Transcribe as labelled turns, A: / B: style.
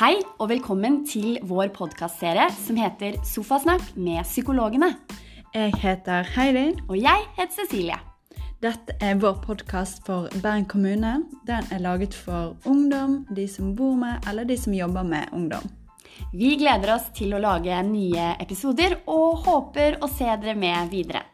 A: Hei og velkommen til vår podkastserie som heter Sofasnakk med psykologene.
B: Jeg heter Heidi.
A: Og jeg heter Cecilie.
B: Dette er vår podkast for Bergen kommune. Den er laget for ungdom, de som bor med eller de som jobber med ungdom.
A: Vi gleder oss til å lage nye episoder og håper å se dere med videre.